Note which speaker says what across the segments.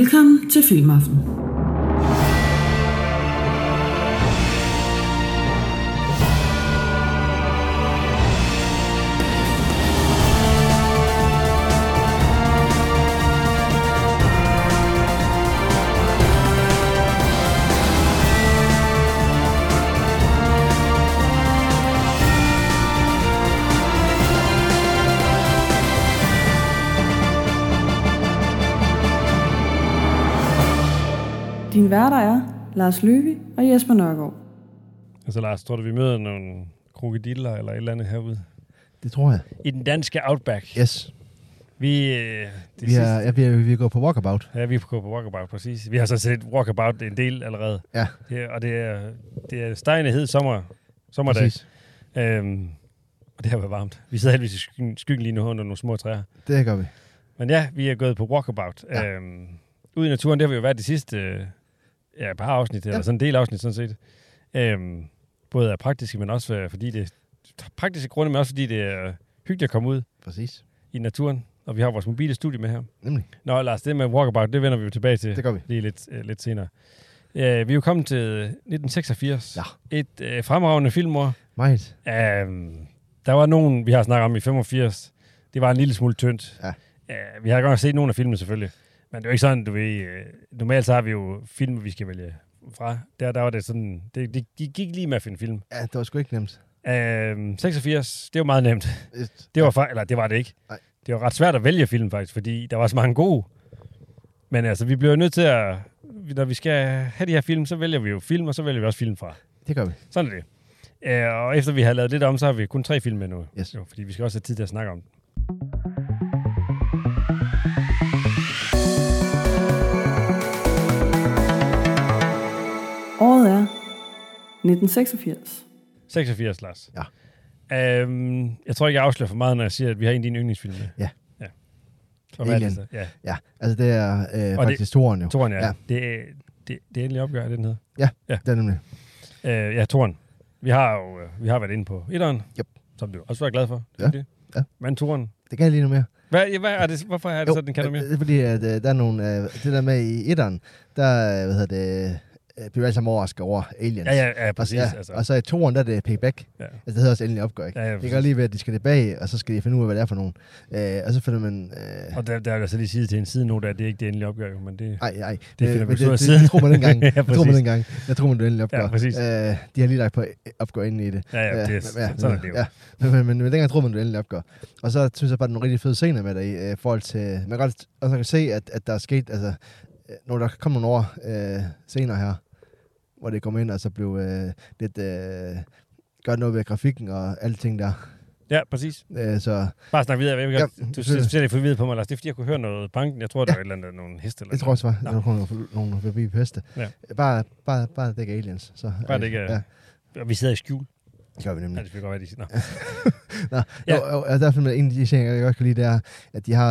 Speaker 1: Velkommen til Filmaften.
Speaker 2: Din værter er Lars Løvi og Jesper Nørgaard.
Speaker 3: Altså Lars, tror du, vi møder nogle krokodiller eller et eller andet herude?
Speaker 4: Det tror jeg.
Speaker 3: I den danske Outback. Ja.
Speaker 4: Yes.
Speaker 3: Vi, øh, det
Speaker 4: Vi, er, ja, vi, er, vi går på walkabout.
Speaker 3: Ja, vi er på Walkabout, præcis. Vi har så set Walkabout en del allerede.
Speaker 4: Ja,
Speaker 3: Det, er- og det er, det er stegende hed sommer, sommerdag.
Speaker 4: præcis.
Speaker 3: Øhm, og det har været varmt. Vi sidder heldigvis i skyggen, skyggen lige nu under nogle små træer.
Speaker 4: Det gør vi.
Speaker 3: Men ja, vi er gået på Walkabout. Ja. Øhm, ude i naturen, det har vi jo været de sidste øh, ja, par afsnit, ja. eller sådan en del afsnit sådan set. Øhm, både af praktiske, men også øh, fordi det praktiske grunde, men også fordi det er hyggeligt at komme ud.
Speaker 4: Præcis.
Speaker 3: i naturen, og vi har vores mobile studie med her.
Speaker 4: Nemlig.
Speaker 3: Nå, Lars, det med walkabout, det vender vi jo tilbage til
Speaker 4: Det gør vi.
Speaker 3: lige lidt, øh, lidt senere. Øh, vi er jo kommet til 1986.
Speaker 4: Ja.
Speaker 3: Et øh, fremragende filmår.
Speaker 4: Meget.
Speaker 3: Um, der var nogen, vi har snakket om i 85. Det var en lille smule tyndt.
Speaker 4: Ja.
Speaker 3: Uh, vi har godt set nogle af filmene selvfølgelig, men det er jo ikke sådan, du ved... Øh, normalt så har vi jo film, vi skal vælge fra. Der, der var det sådan... Det, det, de gik lige med at finde film.
Speaker 4: Ja, det var sgu ikke nemt. Øh,
Speaker 3: Um, 86, det var meget nemt.
Speaker 4: Et-
Speaker 3: Det var, fa- eller det var det ikke. Nej.
Speaker 4: Nej.
Speaker 3: Det var ret svært at vælge film faktisk, fordi der var så mange gode. Men altså, vi bliver jo nødt til at... Når vi skal have de her film, så vælger vi jo film, og så vælger vi også film fra.
Speaker 4: Det gør vi.
Speaker 3: Sådan er det. Øh, Og efter vi har lavet lidt om, så har vi kun tre film med nu.
Speaker 4: Yes.
Speaker 3: Jo, fordi vi skal også have tid til at snakke om dem.
Speaker 2: Året er 1986.
Speaker 3: 86, Lars.
Speaker 4: Ja.
Speaker 3: Øhm, jeg tror ikke, jeg afslører for meget, når jeg siger, at vi har en af dine yndlingsfilm med.
Speaker 4: Ja.
Speaker 3: ja. Og hvad er det
Speaker 4: Alien.
Speaker 3: så? Ja,
Speaker 4: Ja, altså det er øh,
Speaker 3: Og det-
Speaker 4: faktisk toren jo.
Speaker 3: Toren, ja. ja.
Speaker 4: Ja.
Speaker 3: Det, er- det, det er endelig opgør, er det den hedder.
Speaker 4: Det er nemlig.
Speaker 3: Øh, ja, Toren. Vi har jo øh, vi har været inde på etteren,
Speaker 4: Yep.
Speaker 3: som du også var glad for.
Speaker 4: Ja,
Speaker 3: Det.
Speaker 4: ja.
Speaker 3: Men Toren.
Speaker 4: Det kan jeg lige nu mere.
Speaker 3: Hvad, ja, hvad er det, hvorfor er det jo, sådan, den kan du mere?
Speaker 4: Det er fordi, at øh, der er nogle, øh, det der med i etteren, der øh, hvad hedder det, øh, bliver vi alle sammen overrasket over aliens.
Speaker 3: Ja, ja, ja,
Speaker 4: Og, så-
Speaker 3: præcis.
Speaker 4: ja,
Speaker 3: Altså,
Speaker 4: og så i toren, der er det payback.
Speaker 3: ja.
Speaker 4: Altså, det hedder også endelig opgør, ikke?
Speaker 3: Ja, ja,
Speaker 4: det
Speaker 3: præcis.
Speaker 4: gør lige ved, at de skal tilbage, og så skal de finde ud af, hvad det er for nogen. Øh, og så finder man... Øh,
Speaker 3: Og der, der er der så lige sige til en side nu, der, det er ikke det endelige opgør, jo, men det...
Speaker 4: Nej, nej.
Speaker 3: finder vi
Speaker 4: men
Speaker 3: så
Speaker 4: det,
Speaker 3: siden.
Speaker 4: det, det tror man dengang.
Speaker 3: Ja,
Speaker 4: ja, det tror man
Speaker 3: præcis.
Speaker 4: dengang. Jeg tror man, det endelig opgør.
Speaker 3: Ja, præcis.
Speaker 4: Øh, de har lige lagt på opgør ind i det. Øh,
Speaker 3: Ja, ja, det er, sådan er det jo.
Speaker 4: Ja. Men, men, men, men dengang tror man, det endelig opgør. Og så synes jeg bare, der er nogle rigtig fede scener med dig i øh, forhold til... Man kan godt også kan se, at, at der er sket... Altså, øh, når der kom nogle år øh, senere her, hvor det kom ind, og så blev øh, lidt... Øh, gør noget ved grafikken og alting der.
Speaker 3: ja, præcis.
Speaker 4: Øh, så
Speaker 3: Bare snak videre. Jeg ved
Speaker 4: Ja,
Speaker 3: godt, du ser
Speaker 4: selvfølgelig.
Speaker 3: ser lidt forvirret på mig, Lars. Det er, fordi jeg kunne høre noget banken. Jeg tror, der var et eller andet, nogle heste eller
Speaker 4: det tror jeg også var,
Speaker 3: Nå.
Speaker 4: at der kom nogle, nogle forbi på heste.
Speaker 3: Ja.
Speaker 4: Bare, bare, bare det ikke er aliens. Så,
Speaker 3: Bare det ikke er-
Speaker 4: Ja,
Speaker 3: noget. Og vi sidder i skjul.
Speaker 4: Mm. det gør vi nemlig.
Speaker 3: Ja, det skal godt være, de siger. Nå.
Speaker 4: Nå,
Speaker 3: Ja.
Speaker 4: ja. jo, jo, og derfor med en af de ting, jeg godt kan lide, det er, at de har,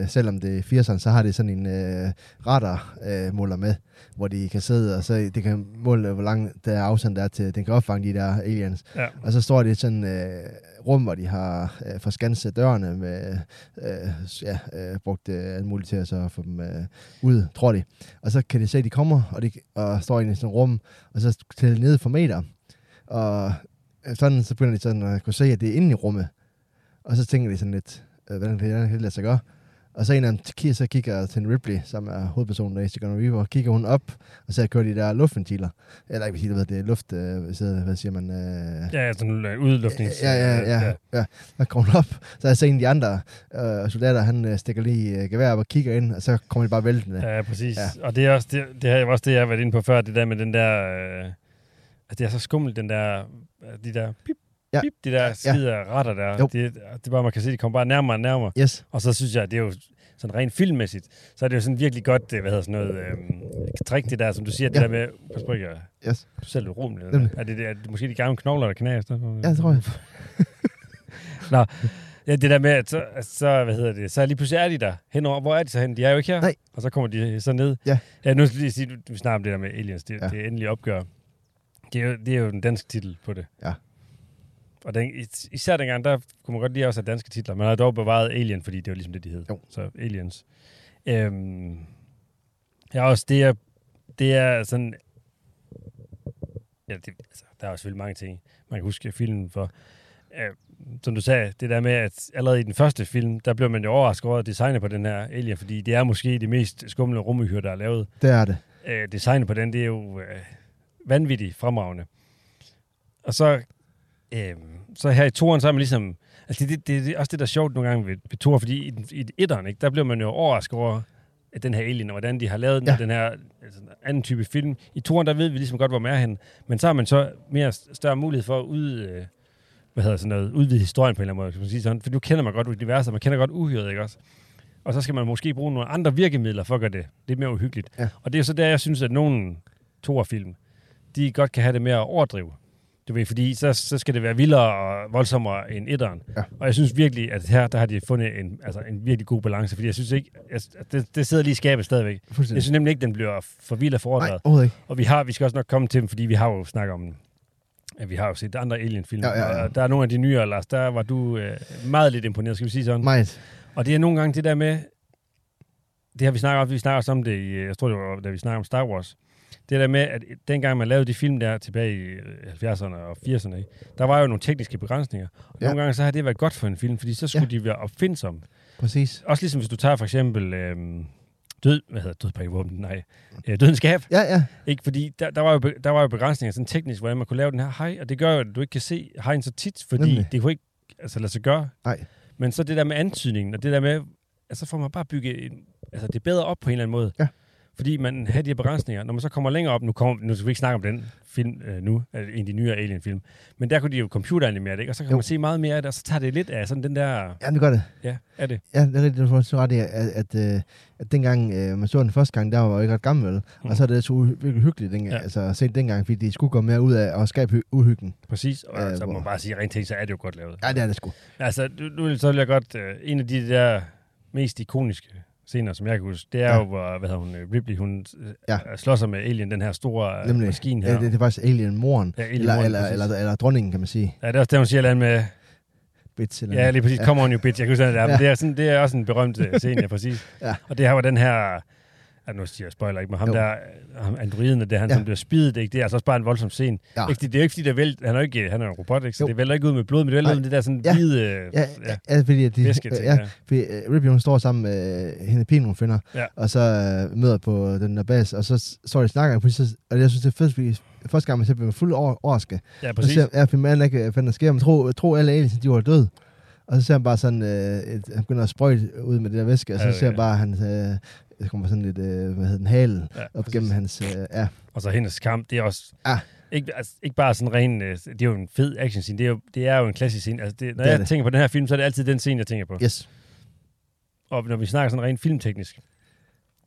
Speaker 4: øh, selvom det er 80'eren, så har det sådan en øh, radar øh, måler med, hvor de kan sidde, og så det kan måle, hvor lang der er afstand der er til, den kan opfange de der aliens.
Speaker 3: Ja.
Speaker 4: Og så står det i sådan øh, rum, hvor de har øh, forskanset dørene med, øh, s- ja, øh, brugt øh, alt muligt til at så få dem øh, ud, tror de. Og så kan de se, at de kommer, og de og står inde i sådan et rum, og så tæller de ned for meter. Og øh, sådan, så begynder de sådan at kunne se, at det er inde i rummet. Og så tænker de sådan lidt, øh, hvordan kan det- hvordan kan det lade sig gøre? Og så en af dem kigger, så kigger til Ripley, som er hovedpersonen der i Sigourney Weaver, kigger hun op, og så kører de der luftventiler. Eller ikke ventiler, hvad hedder det er luft, øh, så- hvad siger man? Øh,
Speaker 3: Ja, ja, sådan en udluftnings...
Speaker 4: Ja, ja, ja, ja. ja. Der kommer hun op, så er så en af de andre øh, soldater, han øh, stikker lige øh, gevær op og kigger ind, og så kommer de bare væltende. Ja.
Speaker 3: Ja, præcis. Ja.
Speaker 4: Ja.
Speaker 3: Og det er også det, det, her, også det, jeg har været inde på før, det der med den der... Øh, at det er så skummelt, den der... øh, De der pip, ja.
Speaker 4: Ja.
Speaker 3: pip, de der skide ja. retter der.
Speaker 4: Jo.
Speaker 3: Det, det er bare, man kan se, de kommer bare nærmere og nærmere.
Speaker 4: Yes,
Speaker 3: Og så synes jeg, det er jo sådan rent filmmæssigt, så er det jo sådan virkelig godt, øh, hvad hedder sådan noget, øh, trick det der, som du siger, det
Speaker 4: Ja.
Speaker 3: der med, pas på ikke, at-
Speaker 4: yes.
Speaker 3: du er selv lidt rumelig.
Speaker 4: Nemlig.
Speaker 3: Er det, det, er det måske de gamle knogler, der knager i stedet for?
Speaker 4: Ja, det tror jeg.
Speaker 3: Ja, det der med, at så, at så hvad hedder det, så lige pludselig er de der henover. Hvor er de så hen? De er jo ikke her.
Speaker 4: Nej.
Speaker 3: Og så kommer de så ned.
Speaker 4: Ja.
Speaker 3: ja nu skal jeg lige sige, du- vi snakker om det der med aliens. Det, ja.
Speaker 4: Ja.
Speaker 3: det er endelig opgør. Det er, jo, det er jo den danske titel på det.
Speaker 4: Ja.
Speaker 3: Og den, is- især dengang, der kunne man godt lide også have danske titler. Man har dog bevaret Alien, fordi det var ligesom det, de hed.
Speaker 4: Jo.
Speaker 3: Så Aliens. Øhm, Ja, også det er, det er sådan... Ja, det, altså, der er jo selvfølgelig mange ting, man kan huske af filmen for. Øh, som du sagde, det der med, at allerede i den første film, der blev man jo overrasket over designet på den her alien, fordi det er måske det mest skumle rummehyre, der er lavet.
Speaker 4: Det er det.
Speaker 3: Øh, designet på den, det er jo øh, vanvittigt fremragende. Og så, øh, så her i toren, så er man ligesom... Altså, det, det, det er også det, der er sjovt nogle gange ved, ved toren, fordi i, den- i etteren, ikke, der bliver man jo overrasket over, at den her alien, og hvordan de har lavet den,
Speaker 4: Ja.
Speaker 3: ja. den her altså, anden type film. I toren, der ved vi ligesom godt, hvor man er henne, men så har man så mere større mulighed for at ud, øh, hvad hedder sådan noget, udvide historien på en eller anden måde, kan man sige sådan, for nu kender man godt universet, man kender godt uhyret, ikke også? Og så skal man måske bruge nogle andre virkemidler for at gøre det lidt mere uhyggeligt.
Speaker 4: Ja.
Speaker 3: Og det er jo så der, jeg synes, at nogle toerfilm, de godt kan have det med at overdrive. Du ved, fordi så, så skal det være vildere og voldsommere end etteren.
Speaker 4: Ja.
Speaker 3: Og jeg synes virkelig, at her, der har de fundet en, altså en virkelig god balance, fordi jeg synes ikke, jeg, det, det sidder lige i skabet stadigvæk. Jeg
Speaker 4: Fuldstændig.
Speaker 3: synes nemlig ikke, den bliver for vild og
Speaker 4: Nej,
Speaker 3: forårdret.
Speaker 4: overhovedet ikke.
Speaker 3: Og vi har, vi skal også nok komme til dem, fordi vi har jo snakket om den. At vi har jo set andre Alien-film.
Speaker 4: Ja, ja, ja.
Speaker 3: Og der er nogle af de nyere, Lars, der var du øh, meget lidt imponeret, skal vi sige sådan.
Speaker 4: Meget.
Speaker 3: Og det er nogle gange det der med, det har vi snakket om, vi snakker også om det, i, øh, jeg tror det var, da vi snakker om Star Wars. Det der med, at dengang man lavede de film der tilbage i øh, 70'erne og 80'erne, ikke? der var jo nogle tekniske begrænsninger. Og ja.
Speaker 4: Ja.
Speaker 3: nogle gange så har det været godt for en film, fordi så skulle ja. de være opfindsomme.
Speaker 4: Præcis.
Speaker 3: Også ligesom hvis du tager for eksempel øh, død, hvad hedder død på våben, nej, øh, dødens gab.
Speaker 4: Ja, ja.
Speaker 3: Ikke? Fordi der, der, var jo, be- der var jo begrænsninger sådan teknisk, hvordan man kunne lave den her hej, og det gør jo, at du ikke kan se hejen så tit, fordi
Speaker 4: Nemlig.
Speaker 3: Nemlig. det kunne ikke altså, lade sig gøre.
Speaker 4: Nej.
Speaker 3: Men så det der med antydningen, og det der med, altså får man bare bygget en, altså det er bedre op på en eller anden måde.
Speaker 4: Ja.
Speaker 3: Fordi man har de her begrænsninger. Når man så kommer længere op, nu, kommer, nu skal vi ikke snakke om den film øh, nu, altså en af de nyere Alien-film, men der kunne de jo computeranimere det, ikke? og så kan
Speaker 4: Jo.
Speaker 3: jo. man se meget mere af det, og så tager det lidt af sådan den der,
Speaker 4: Ja, det gør det.
Speaker 3: ja, er det.
Speaker 4: Ja, det er rigtigt, du får så ret i, at, at, øh, at dengang øh, man så den første gang, der var jeg jo ikke ret gammel, mm. og så er det så uhy- virkelig hyggeligt dengang, ja.
Speaker 3: Ja.
Speaker 4: altså at se dengang, fordi de skulle gå mere ud af og skabe hy- uhyggen.
Speaker 3: Præcis, og
Speaker 4: Ja,
Speaker 3: så må
Speaker 4: hvor-
Speaker 3: man bare sige, rent ting, så er det jo godt lavet.
Speaker 4: Ja, det er det sgu.
Speaker 3: Altså, nu- nu så vil jeg godt... Øh, en af de der mest ikoniske scener, som jeg kan huske, det er
Speaker 4: Ja.
Speaker 3: ja. jo, hvor, hvad hedder hun, øh, Ripley, hun øh,
Speaker 4: Ja.
Speaker 3: ja. slår sig med Alien, den her store Nemlig.
Speaker 4: Nemlig.
Speaker 3: maskine her.
Speaker 4: Ja, det, det er faktisk Alien-moren,
Speaker 3: ja, Alien
Speaker 4: eller,
Speaker 3: Warren,
Speaker 4: eller,
Speaker 3: præcis.
Speaker 4: eller, eller, dronningen, kan man sige.
Speaker 3: Ja, det er også der, hun siger et eller andet med,
Speaker 4: Bitch, eller
Speaker 3: ja, lige præcis, come on you bitch, jeg kan huske, den der,
Speaker 4: Ja.
Speaker 3: ja. det, er sådan, det er også en berømt øh, scene, ja, præcis.
Speaker 4: Ja.
Speaker 3: Og det her var den her, ja, nu siger jeg spoiler ikke, men ham
Speaker 4: Jo.
Speaker 3: jo. der, øh, ham, androiden, det er han,
Speaker 4: Ja.
Speaker 3: ja. som bliver spidet, ikke? det er altså også bare en voldsom scene.
Speaker 4: Ja.
Speaker 3: Ja. Ikke, fordi- det er jo ikke, fordi det vælt, han er jo ikke, han er jo en robot, ikke? så
Speaker 4: Jo.
Speaker 3: jo. det vælter ikke ud med blod, men det vælter
Speaker 4: Nej.
Speaker 3: ud med det der sådan
Speaker 4: Ja.
Speaker 3: ja. hvide, øh,
Speaker 4: Ja, ja, ja, fordi, at de,
Speaker 3: væske ting,
Speaker 4: ja, fordi uh, Ripley, hun står sammen med øh, hende pigen, hun finder,
Speaker 3: Ja.
Speaker 4: og så øh, møder på den der bas, og så s- står de og snakker, og, pludselig så, og jeg synes, det er først, fordi første gang, man ser, bliver man fuld over, overrasket.
Speaker 3: ja,
Speaker 4: Præcis.
Speaker 3: præcis.
Speaker 4: Så ser jeg, at manden ikke, hvad fanden der sker, man tror, tror alle aliens, de var døde. Og så ser han bare sådan, øh, et, han begynder at sprøjte ud med det der væske, og så
Speaker 3: Ja,
Speaker 4: ja,
Speaker 3: ja,
Speaker 4: ser han
Speaker 3: ja.
Speaker 4: bare, at han øh, der kommer sådan lidt, øh, hvad hedder den, halen
Speaker 3: Ja,
Speaker 4: op
Speaker 3: præcis.
Speaker 4: gennem hans, øh, ja,
Speaker 3: Og så hendes kamp, det er også...
Speaker 4: Ah.
Speaker 3: Ah. Ikke, altså, ikke bare sådan ren... øh, Det er jo en fed action scene. Det er jo, det er jo en klassisk scene. Altså, det, når
Speaker 4: Det er
Speaker 3: det jeg
Speaker 4: det.
Speaker 3: det. tænker på den her film, så er det altid den scene, jeg tænker på. Ja.
Speaker 4: yes,
Speaker 3: Og når vi snakker sådan rent filmteknisk,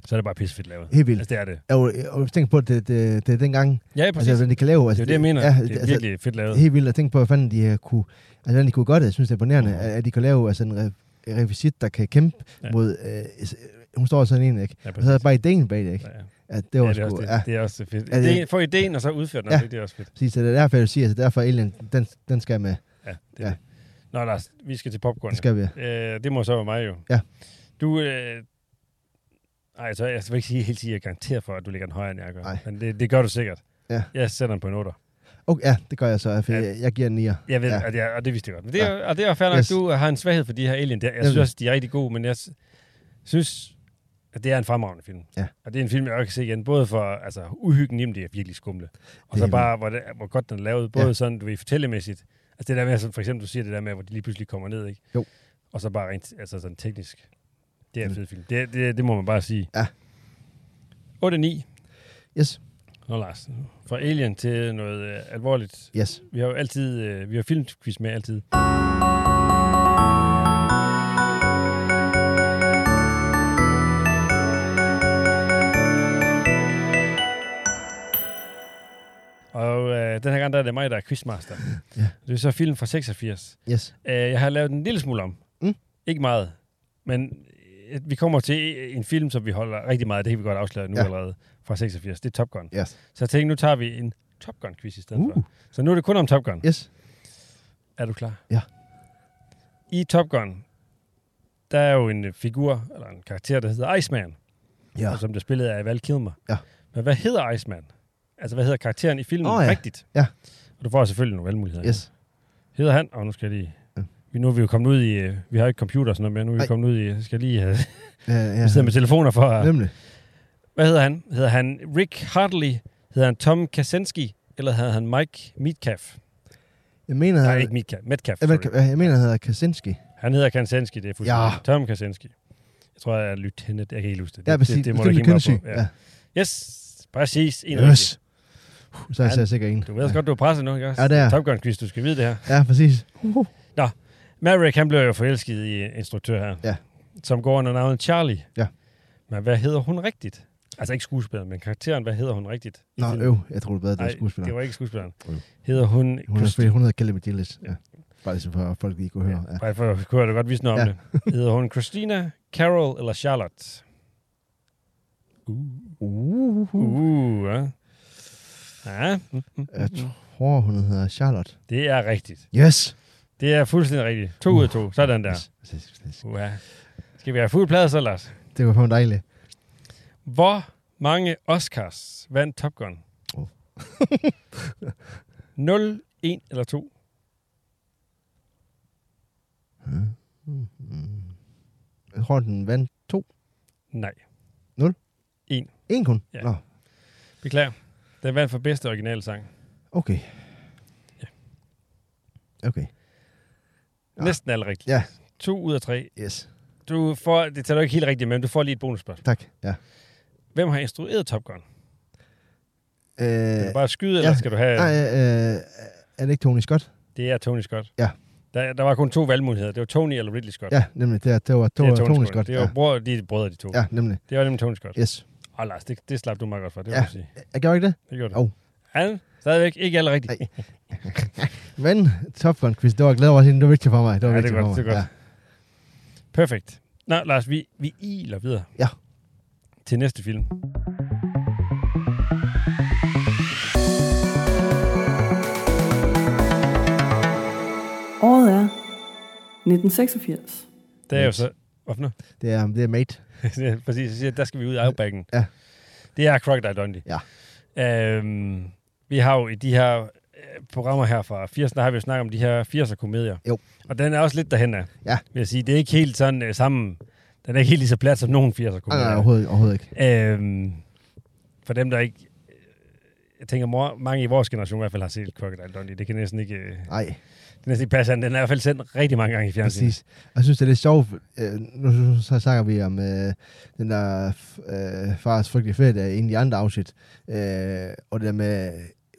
Speaker 3: så er det bare pissefedt lavet.
Speaker 4: helt vildt.
Speaker 3: Altså, det er det.
Speaker 4: Og, og hvis jeg tænker på, at det, det, det er dengang,
Speaker 3: Ja, præcis.
Speaker 4: altså,
Speaker 3: Altså,
Speaker 4: hvordan de kan lave,
Speaker 3: det er
Speaker 4: altså,
Speaker 3: jo det, jeg mener.
Speaker 4: Ja,
Speaker 3: Ja, det er
Speaker 4: altså,
Speaker 3: virkelig altså, fedt lavet.
Speaker 4: helt vildt at tænke på, hvad fanden de øh, kunne, altså, hvordan de kunne gøre det. Jeg synes, det er imponerende,
Speaker 3: Mhm.
Speaker 4: at, at de kan lave altså, en re- revisit, der kan kæmpe ja.
Speaker 3: Ja.
Speaker 4: mod... Øh, s- hun står sådan en, ikke?
Speaker 3: Ja,
Speaker 4: Og så er
Speaker 3: præcis.
Speaker 4: bare ideen bag det, ikke?
Speaker 3: Ja, ja.
Speaker 4: At det var
Speaker 3: ja, det,
Speaker 4: sgu...
Speaker 3: er også, det,
Speaker 4: ja.
Speaker 3: det er også fedt.
Speaker 4: Ja, det-
Speaker 3: Ideen, få ideen, og så udføre den.
Speaker 4: Ja.
Speaker 3: Ja. Det, det er også fedt.
Speaker 4: Præcis, så det er derfor, jeg siger, at derfor Alien, den, den skal med.
Speaker 3: Ja, det
Speaker 4: Ja.
Speaker 3: ja. Nå, Lars, vi skal til popcorn.
Speaker 4: Den skal vi.
Speaker 3: Øh, det må så være mig jo.
Speaker 4: Ja.
Speaker 3: Du, øh, ej, så jeg skal ikke sige, helt sige, at jeg garanterer for, at du ligger den højere, end jeg gør.
Speaker 4: Nej.
Speaker 3: Men det, det gør du sikkert.
Speaker 4: Ja.
Speaker 3: Jeg sætter den på en 8.
Speaker 4: Okay, ja, det gør jeg så, for
Speaker 3: Ja.
Speaker 4: jeg, jeg giver den 9'er.
Speaker 3: Jeg ved,
Speaker 4: Ja.
Speaker 3: ja. at jeg, og det vidste jeg godt. Men det, er, og det er fair nok,
Speaker 4: Yes.
Speaker 3: yes. du har en svaghed for de her alien der. Jeg
Speaker 4: Nemlig.
Speaker 3: synes også, de er rigtig gode, men jeg s- synes, at det er en fremragende film.
Speaker 4: Ja.
Speaker 3: Og det er en film, jeg også kan se igen, både for altså, uhyggen i dem, det er virkelig skumle. Og
Speaker 4: Det er
Speaker 3: så bare, hvor, det, hvor godt den er lavet, både
Speaker 4: Ja.
Speaker 3: ja. sådan, du ved, fortællemæssigt. Altså det der med, som for eksempel du siger det der med, hvor de lige pludselig kommer ned, ikke?
Speaker 4: Jo.
Speaker 3: Og så bare rent, altså sådan teknisk. Det er en
Speaker 4: Mm.
Speaker 3: fed film. Det, det, det må man bare sige.
Speaker 4: Ja.
Speaker 3: 8-9.
Speaker 4: Yes,
Speaker 3: Nå Lars, fra Alien til noget øh, alvorligt
Speaker 4: yes.
Speaker 3: vi har jo altid, øh, vi har filmquiz med altid. Og øh, den her gang, der er det mig, der er quizmaster.
Speaker 4: Ja.
Speaker 3: Det er så film fra 86.
Speaker 4: Yes.
Speaker 3: Øh, jeg har lavet en lille smule om.
Speaker 4: Mm.
Speaker 3: Ikke meget. Men øh, vi kommer til en film, som vi holder rigtig meget af. Det kan vi godt afsløre nu
Speaker 4: Ja.
Speaker 3: ja. allerede. Fra 86. Det er Top Gun.
Speaker 4: Yes.
Speaker 3: Så jeg tænkte, nu tager vi en Top Gun-quiz i stedet
Speaker 4: Uh.
Speaker 3: uh. for. Så nu er det kun om Top Gun.
Speaker 4: Yes.
Speaker 3: Er du klar?
Speaker 4: Ja.
Speaker 3: I Top Gun, der er jo en øh, figur, eller en karakter, der hedder Iceman.
Speaker 4: Ja.
Speaker 3: og som det spillede af Val Kilmer.
Speaker 4: Ja.
Speaker 3: Men hvad hedder Iceman? Altså, hvad hedder karakteren i filmen
Speaker 4: Åh, ja.
Speaker 3: rigtigt?
Speaker 4: Ja.
Speaker 3: Og du får selvfølgelig nogle valgmuligheder.
Speaker 4: Yes.
Speaker 3: Hedder han? Og nu skal jeg lige...
Speaker 4: Ja.
Speaker 3: Vi, nu er vi jo kommet ud i... øh, Vi har jo ikke computer og sådan noget mere. Nu er vi
Speaker 4: Nej.
Speaker 3: kommet ud i... Jeg skal lige have,
Speaker 4: Ja, ja.
Speaker 3: sidde med telefoner for at...
Speaker 4: Nemlig.
Speaker 3: Hvad hedder han? Hedder han Rick Hartley? Hedder han Tom Kaczynski? Eller hedder han Mike Metcalf?
Speaker 4: Jeg mener,
Speaker 3: Nej, ikke Metcalf. Metcalf,
Speaker 4: jeg,
Speaker 3: sorry.
Speaker 4: mener, jeg mener, han hedder Kaczynski.
Speaker 3: Han hedder Kaczynski, det er fuldstændig.
Speaker 4: Ja.
Speaker 3: Ja. Tom Kaczynski. Jeg tror, jeg er lieutenant. Jeg kan ikke huske det.
Speaker 4: Ja,
Speaker 3: det,
Speaker 4: præcis.
Speaker 3: det, det må du
Speaker 4: Bestemt
Speaker 3: ikke hænge mig
Speaker 4: Kenzie.
Speaker 3: op på. Ja. Yes, præcis. En
Speaker 4: Ja. Yes.
Speaker 3: yes.
Speaker 4: Uh, Så er jeg
Speaker 3: Ja,
Speaker 4: så sikkert en.
Speaker 3: Du ved også godt, du er presset nu, ikke også?
Speaker 4: Ja, det er jeg.
Speaker 3: Top Gun quiz, du skal vide det her.
Speaker 4: Ja, præcis.
Speaker 3: Maverick, han blev jo forelsket i en instruktør her.
Speaker 4: Ja.
Speaker 3: Som går under navnet Charlie.
Speaker 4: Ja.
Speaker 3: Men hvad hedder hun rigtigt? Altså ikke skuespilleren, men karakteren, hvad hedder hun rigtigt? i
Speaker 4: Nå,
Speaker 3: filmen?
Speaker 4: øv. Jeg tror, det var bedre, det
Speaker 3: Nej,
Speaker 4: var skuespiller.
Speaker 3: det var ikke skuespilleren.
Speaker 4: Øv.
Speaker 3: Hedder hun...
Speaker 4: Hun er
Speaker 3: Christi-
Speaker 4: fordi hun hedder Kelly McGillis. Ja. Bare ligesom for at folk lige kunne høre. Ja.
Speaker 3: Bare for at kunne jeg da godt vise noget om
Speaker 4: Ja.
Speaker 3: det. Hedder hun Christina, Carol eller Charlotte? Uh. Uh. Uh, ja. Ja,
Speaker 4: Jeg tror, hun hedder Charlotte.
Speaker 3: det er rigtigt.
Speaker 4: Yes!
Speaker 3: Det er fuldstændig rigtigt. To ud af
Speaker 4: Uh.
Speaker 3: to. Sådan der.
Speaker 4: Yes, yes, yes.
Speaker 3: Uh. Skal vi have fuld plads så, Lars?
Speaker 4: Det var fandme dejligt.
Speaker 3: Hvor mange Oscars vandt Top Gun?
Speaker 4: Oh.
Speaker 3: 0, 1 eller 2?
Speaker 4: Mm. Jeg tror, den vandt to.
Speaker 3: Nej.
Speaker 4: En kun?
Speaker 3: Ja.
Speaker 4: Nå,
Speaker 3: Beklager. Den vandt for bedste originalsang.
Speaker 4: okay.
Speaker 3: Ja.
Speaker 4: Okay, Ja.
Speaker 3: Næsten alt rigtigt.
Speaker 4: Ja.
Speaker 3: 2 ud af 3.
Speaker 4: yes.
Speaker 3: Du får, det tager du ikke helt rigtigt, men du får lige et bonusspørgsmål.
Speaker 4: Tak. Ja.
Speaker 3: Hvem har instrueret Top Gun? Skal
Speaker 4: Øh,
Speaker 3: du bare skyde,
Speaker 4: ja.
Speaker 3: eller skal du have...
Speaker 4: nej, øh, er det ikke Tony Scott?
Speaker 3: Det er Tony Scott.
Speaker 4: Ja.
Speaker 3: Der, der var kun to valgmuligheder. Det var Tony eller Ridley Scott.
Speaker 4: Ja, nemlig. Det, er, det var, det
Speaker 3: det
Speaker 4: var Tony, Scott.
Speaker 3: Det
Speaker 4: ja.
Speaker 3: var bror, de er brødre, de to.
Speaker 4: ja, nemlig.
Speaker 3: Det var nemlig Tony Scott.
Speaker 4: Yes.
Speaker 3: Og Lars, det, det slap du meget godt for. Det
Speaker 4: Ja.
Speaker 3: ja. sige.
Speaker 4: Jeg gjorde ikke det?
Speaker 3: Det gjorde du.
Speaker 4: Hov.
Speaker 3: Han stadigvæk ikke alle rigtigt.
Speaker 4: Nej. Men Top Gun quiz, det var jeg glad over at sige, det var vigtigt for mig. Det var
Speaker 3: Ja, det er
Speaker 4: vigtigt
Speaker 3: godt,
Speaker 4: for mig.
Speaker 3: det er godt. Perfekt. Nå, Lars, vi, vi iler videre.
Speaker 4: Ja.
Speaker 3: Til næste film.
Speaker 2: Året er 1986.
Speaker 3: Det er jo
Speaker 4: Yes.
Speaker 3: så... Hvorfor nu?
Speaker 4: Ja. Det er, det er mate.
Speaker 3: Det er Præcis, jeg siger, der skal vi ud af outbacken.
Speaker 4: Ja.
Speaker 3: Det er Crocodile Dundee. Ja. Øhm, vi har jo i de her øh, programmer her fra 80'erne, der har vi jo snakket om de her 80'er komedier.
Speaker 4: Jo.
Speaker 3: Og den er også lidt derhen af.
Speaker 4: Ja.
Speaker 3: Vil jeg sige, det er ikke helt sådan øh, sammen... Den er ikke helt lige så plat som nogen 80'er
Speaker 4: Nej, nej,
Speaker 3: komedier.
Speaker 4: overhovedet, overhovedet ikke.
Speaker 3: Øhm, for dem, der ikke... øh, Jeg tænker, mor, mange i vores generation i hvert fald har set Crocodile Dundee. Det kan næsten ikke, øh, det
Speaker 4: Nej,
Speaker 3: kan næsten ikke passe an. Den er i hvert fald sendt rigtig mange gange i fjernsynet.
Speaker 4: præcis. Jeg synes, det er lidt sjovt. Øh, nu nu- så snakker vi om øh, den der øh, fars frygtelige ferie, i en af de andre afsnit. Øh, og det der med